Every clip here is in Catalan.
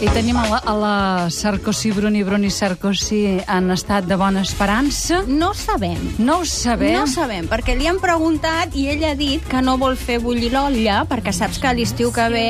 I tenim a la, a la Sarkozy, Bruni, Bruni, Sarkozy en estat de bona esperança. No sabem. No ho sabem. No sabem, perquè li han preguntat i ell ha dit que no vol fer bullir l'olla perquè saps que a l'estiu que ve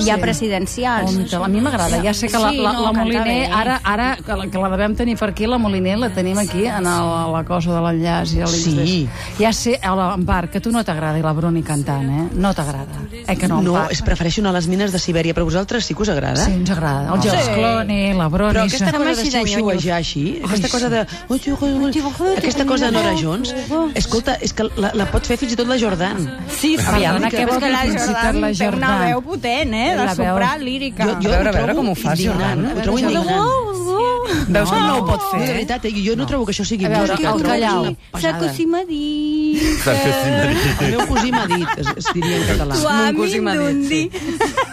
hi ha Sí. presidencials. Compte, a mi m'agrada, ja sé que la, Sí, la, no, la canta Moliner, bé. ara, ara que la, que la devem tenir per aquí, la Moliner la tenim aquí, en el, a la cosa de l'enllaç i a l'Ingrés. Sí. Ja sé, a l'Empar, que a tu no t'agrada, i la Bruni cantant, eh? No t'agrada. Eh que no, No, Empar? és prefereixo anar a les mines de Sibèria, però a vosaltres sí que us agrada. Sí, ens agrada. El George Sí. Clooney, la Bruni... Però aquesta se- cosa de així de xiu-xiuejar així, aquesta Ai, cosa de... Ui, ui, ui, ui, Aquesta cosa de Nora Jones, escolta, és que la, la pot fer fins i tot la Jordan. Sí, sí. Aviam, Perdona, que- què És vol que dir la fins i tot Jordan, la té una Jordan? veu potent, eh? De La veu. soprar lírica. oh, Jo, jo A veure, a ho veure trobo com ho fas, indignant, Jordan. Ho trobo A veure, indignant. Veus com no ho pot No, de fer? veritat, eh, jo no trobo que això sigui A veure, música. el trobo que és callau. una pesada. Sarkozy m'ha dit... El meu cosí m'ha dit, es, es diria en català. Tu a mi Cosí m'ha dit, dundi.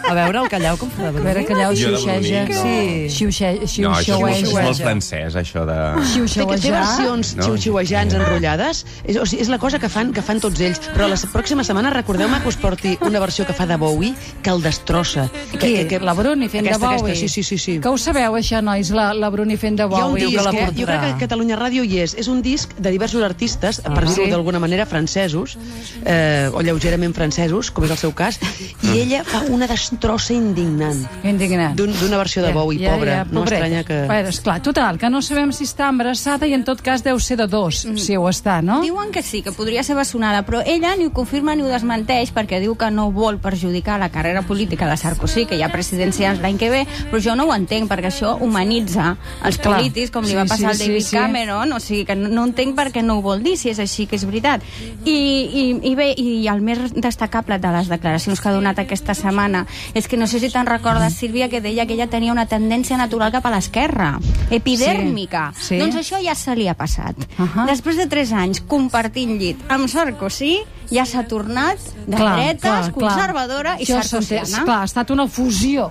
A veure, el callau com fa de A veure, brut. que allà ho Jo de xiuxeja. Bruni, no. Sí. Xiuxeja. No, això és molt, és Xiuxeja. molt francès, això de... Té, té Xiuxeja. versions No. xiu-xiuejants enrotllades, és, o sigui, és la cosa que fan que fan tots ells, però la pròxima setmana recordeu-me que us porti una versió que fa de Bowie que el destrossa. Que, Qui? La Bruni fent aquesta, de Bowie. Aquesta, sí, sí, sí. sí. Que ho sabeu, això, nois, la, la Bruni fent de Hi ha un Bowie. disc, que la eh? jo portarà. crec que a Catalunya Ràdio hi és. És un disc de diversos artistes, Ah, per dir-ho d'alguna manera, francesos, eh, o lleugerament francesos, com és el seu cas, Mm. i ella fa una destrossa indignant Indignat. d'un- d'una versió de Bowie, pobra. No pobreta. m'estranya que... Però, esclar, total, que no sabem si està embarassada i en tot cas deu ser de dos, Mm. si ho està, no? Diuen que sí, que podria ser bessonada, però ella ni ho confirma ni ho desmenteix perquè diu que no vol perjudicar la carrera política de Sarkozy, que hi ha presidencials l'any que ve, però jo no ho entenc perquè això humanitza els Clar. polítics, com Sí, li va passar sí, al David sí, sí. Cameron, o sigui que no, no entenc per què no ho vol dir, si és així que és veritat. I, i, i bé, i el més destacable de les declaracions que ha donat aquesta setmana és que no sé si te'n recordes, Sílvia, que deia que ella tenia una tendència natural cap a l'esquerra, epidèrmica. Sí. Doncs això ja se li ha passat. Ahà. Després de 3 anys compartint llit amb Sarkozy, ja s'ha tornat de clar, dretes, clar, conservadora i Això s'entén. Clar, sarkosiana. ha estat una fusió.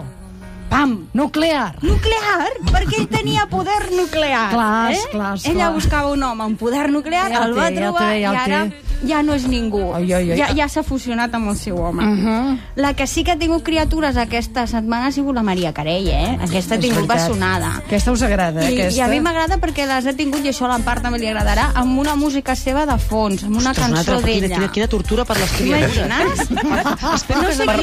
Pam! Nuclear. Nuclear, perquè ell tenia poder nuclear. Clar, eh? esclar, esclar. Ella buscava un home amb poder nuclear, Ja el el va té, ja el trobar té, ja el i ara té. ja no és ningú. Ai, ai, Uh-huh. ai. Ja, ja s'ha fusionat amb el seu home. Uh -huh. La que sí que ha tingut criatures aquesta setmana ha sigut la Maria Carey, eh? Aquesta ha Ah, És tingut veritat. bessonada. Aquesta us agrada, I, aquesta? I a mi m'agrada perquè les ha tingut, i això a l'Empar també li agradarà, amb una música seva de fons, amb una Ostres, una cançó altra- quina, d'ella. quina, quina tortura per les criatures. T'imagines? Ah, Espero que per- per la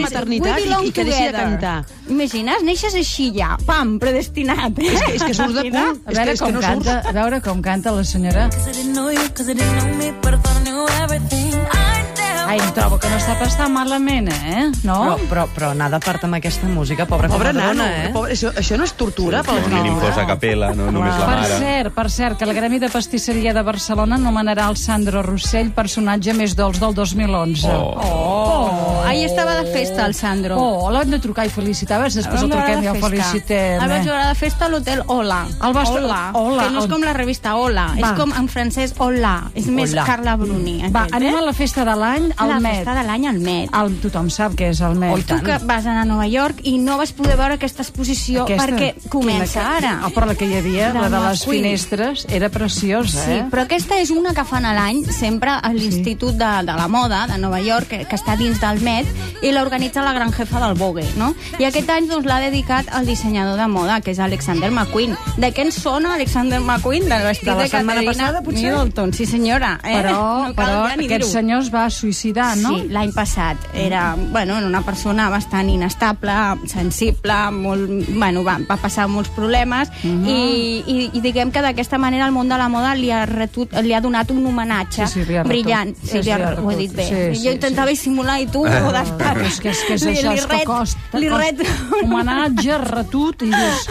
maternitat We i- belong i que deixi de together. cantar. Imagines? Neixes així ja. Pam, predestinat. Eh? És que- és que surt de Imagina? cul. A És veure que- és que com no surt. canta, a veure com canta la senyora. Cause I didn't know you, cause I didn't know me, but I thought I knew everything. I never Ai, em trobo que no està passant malament, eh? Però, No? però, però anar de part amb aquesta música, pobra, Pobre com a nano, dona, eh? pobre, això, això no és tortura eh? per Com les a mínim fos criatures. a capella, no només la Per mare. cert, per cert, que el Gremi de Pastisseria de Barcelona nomenarà el Sandro Rossell personatge més dolç del 2011. Oh. Oh. Ahir estava de festa, el Sandro. Oh, l'hem de trucar i felicitar, a veure si després el Vam jugar truquem i el de festa. felicitem. El vaig eh? veure de festa a l'hotel Hola. El vas- Hola. Hola. Que no és com la revista Hola. Va. És com en francès Hola. És més Hola. Carla Bruni. Va, aquest, eh? anem a la festa de l'any al la Met. Ah, festa de l'any al Met. El, tothom sap que és el Oh, Met. I tu que vas anar a Nova York i no vas poder veure aquesta exposició aquesta, perquè comença Quina que- ara. Ah, però la que hi havia, la de Drama les Queen. finestres, era preciosa, Sí, eh? però aquesta és una que fan a l'any sempre a l'Institut de, de la Moda de Nova York, que, que està dins del Met i l'organitza la gran jefa del Vogue no? i aquest any doncs, l'ha dedicat al dissenyador de moda, que és Alexander McQueen de què ens sona Alexander McQueen? Del vestit De de, la setmana Caterina passada, potser? Middleton, sí senyora eh? Però, no cal però ja ni aquest dir-ho. senyor es va suïcidar, Ah, no? Sí, l'any passat. Era, bueno, era una persona bastant inestable, sensible, molt, bueno, va, va passar molts problemes Mhm. i, i, i diguem que d'aquesta manera el món de la moda li ha, retut, li ha donat un homenatge Sí, Sílvia Retut. brillant. Sí, Sílvia Sílvia Retut, ho he Retut. dit bé. Sí, jo sí, Eh, intentava dissimular i tu ho Però destaques. és que, és que és això, és que costa. Li costa. ret... Homenatge, retut, i dius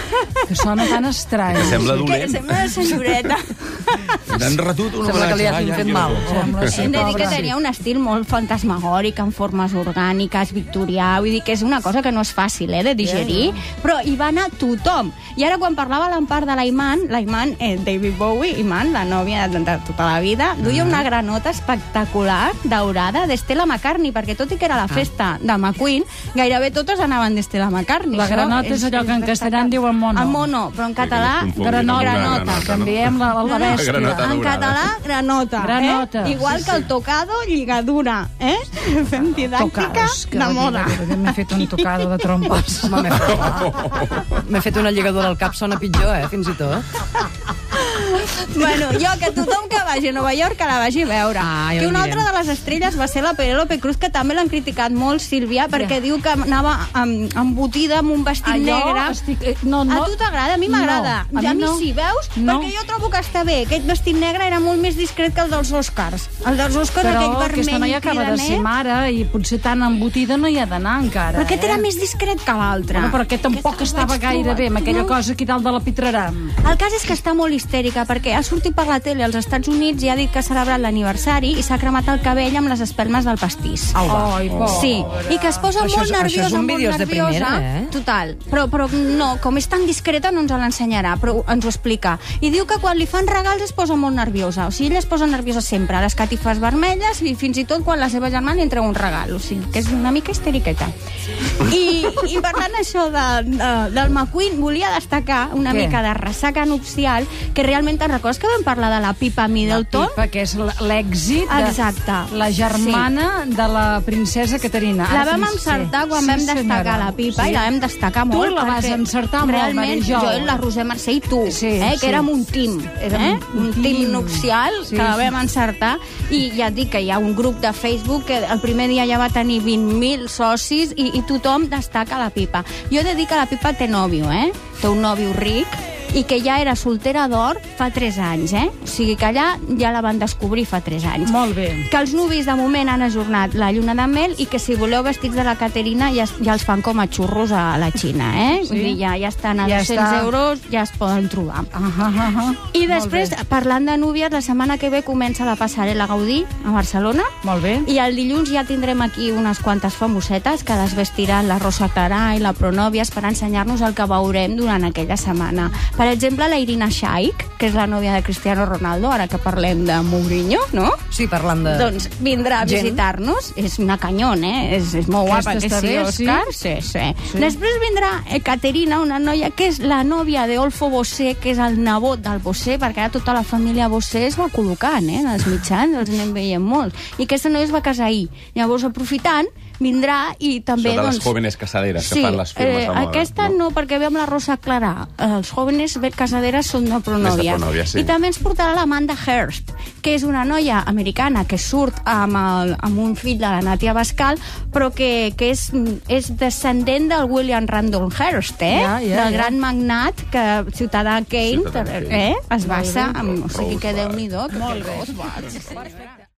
que sona tan estrany. Que sembla Que dolent. sembla una senyoreta. N'han retut un Sembla que li hagin fet mal. Sembla, sí, Hem de dir pobra. que tenia un estil molt fantasmagòric, amb formes orgàniques, victorià, vull dir que és una cosa que no és fàcil eh, de digerir, però hi va anar tothom. I ara quan parlava l'Empar de l'Aiman, l'Aiman, eh, David Bowie, Iman, la nòvia de, Mm. de tota la vida, duia una granota espectacular, daurada, d'Estela McCartney, perquè tot i que era la Ah. festa de McQueen, gairebé totes anaven des de la McCartney. La granota és allò que en castellà en diuen mono. El Ah, mono, però en català... que es confongui, Granota, no? granota, Granota, no? també amb la, la No, no, bèstia. Granota en daurada. català, granota. Granota, Eh? Igual que el tocado, lligadura. Eh? Fem didàctica Tocados, que de va dir, moda. va dir, M'he fet un tocado de trompes. Home, m'he fet, m'he fet una lligadura al cap, sona pitjor, eh, fins i tot. Bueno, jo, que tothom que vagi a Nova York que la vagi a veure. Ah, ja que ho una mirem. altra de les estrelles va ser la Penélope Cruz, que també l'han criticat molt, Sílvia, perquè diu que anava amb, embotida amb un vestit negre. Estic... eh, No, no. A tu t'agrada? A mi m'agrada. No, ja a mi no. sí, veus? No. Perquè jo trobo que està bé. Aquest vestit negre era molt més discret que el dels Oscars. El dels Oscars, Però aquell vermell aquesta noia acaba de ser mare i potser tan embotida no hi ha d'anar encara. Però aquest eh? era més discret que l'altre. Bueno, però aquest tampoc estava gaire bé amb aquella No. cosa aquí dalt de la pitrarà. El cas és que està molt histèrica perquè ha sortit per la tele als Estats Units i ha dit que ha celebrat l'aniversari i s'ha cremat el cabell amb les espelmes del pastís. Au, va. Ai, pobre. Sí, i que es posa Oh. Això molt és- això és nerviosa, un molt vídeos de nerviosa. primera, eh? Total, però, però no, com és tan discreta no ens l'ensenyarà, però ens ho explica. I diu que quan li fan regals es posa molt nerviosa, o sigui, ella es posa nerviosa sempre, a les catifes vermelles i fins i tot quan la seva germana li entrega un regal, o sigui, que és una mica histeriqueta. I, i parlant això de, de, del McQueen, volia destacar una Què? mica de ressaca nupcial, que realment te'n recordes que vam parlar de la Pipa Middleton? Pipa, que és l- l'èxit de- Exacte. la germana de la princesa Caterina. La Ara vam sí. encertar quan Sí, vam senyora. destacar la pipa i la vam destacar Tu molt. la vas perquè encertar molt, Realment, Marijol. jo, la Roser Mercè i tu, Sí, eh, sí. que érem un team. Érem Eh? un Un team. team nupcial Sí, que la sí. vam encertar i ja et dic que hi ha un grup de Facebook que el primer dia ja va tenir 20.000 socis i, i tothom destaca la pipa. Jo he de dir que la pipa té nòvio, eh? Té un nòvio ric i que ja era soltera d'or fa 3 anys, eh? O sigui que allà ja la van descobrir fa 3 anys Molt bé. que els nuvis de moment han ajornat la lluna de mel i que si voleu vestits de la Caterina ja, es- ja els fan com a xurros a la Xina, eh? Sí. Vull dir, ja, ja estan a Ja 200 està. euros, ja es poden trobar. Ah, ah, ah. I després, parlant de núvies, la setmana que ve comença la passarel·la Gaudí a Barcelona. Molt bé. I el dilluns ja tindrem aquí unes quantes famosetes que les vestiran la Rosa Clarà i la Pronòvies per ensenyar-nos el que veurem durant aquella setmana. Per exemple, la Irina Shaik, que és la nòvia de Cristiano Ronaldo, ara que parlem de Mourinho, no? Sí, parlant de... Doncs vindrà a Gent. visitar-nos. És una canyón, eh? És, és molt guapa, Aquesta que està sí, bé, sí? Òscar? Sí, sí. sí. Després vindrà eh, Caterina, una noia que és la nòvia d'Olfo Bossé, que és el nebot del Bossé, perquè ara tota la família Bossé es va col·locant, eh? En els mitjans els anem veient molt. I aquesta noia es va casar ahir. Llavors, aprofitant, vindrà i també... Això de les doncs, jóvenes casaderes que sí, fan les firmes eh, de moda, Aquesta no? no, perquè ve amb la Rosa Clara. Eh, Els jóvenes casaderes són de pronòvia. pronòvia, sí. I també ens portarà l'Amanda Hearst, que és una noia americana que surt amb, el, amb un fill de la Natia Bascal, però que, que és, és descendent del William Randolph Hearst, eh? Ja, ja, ja. del gran magnat que, ciutadà Kane, Ciutadà Kane. eh? es basa en... O sigui que Rosebud. déu-n'hi-do. Molt bé.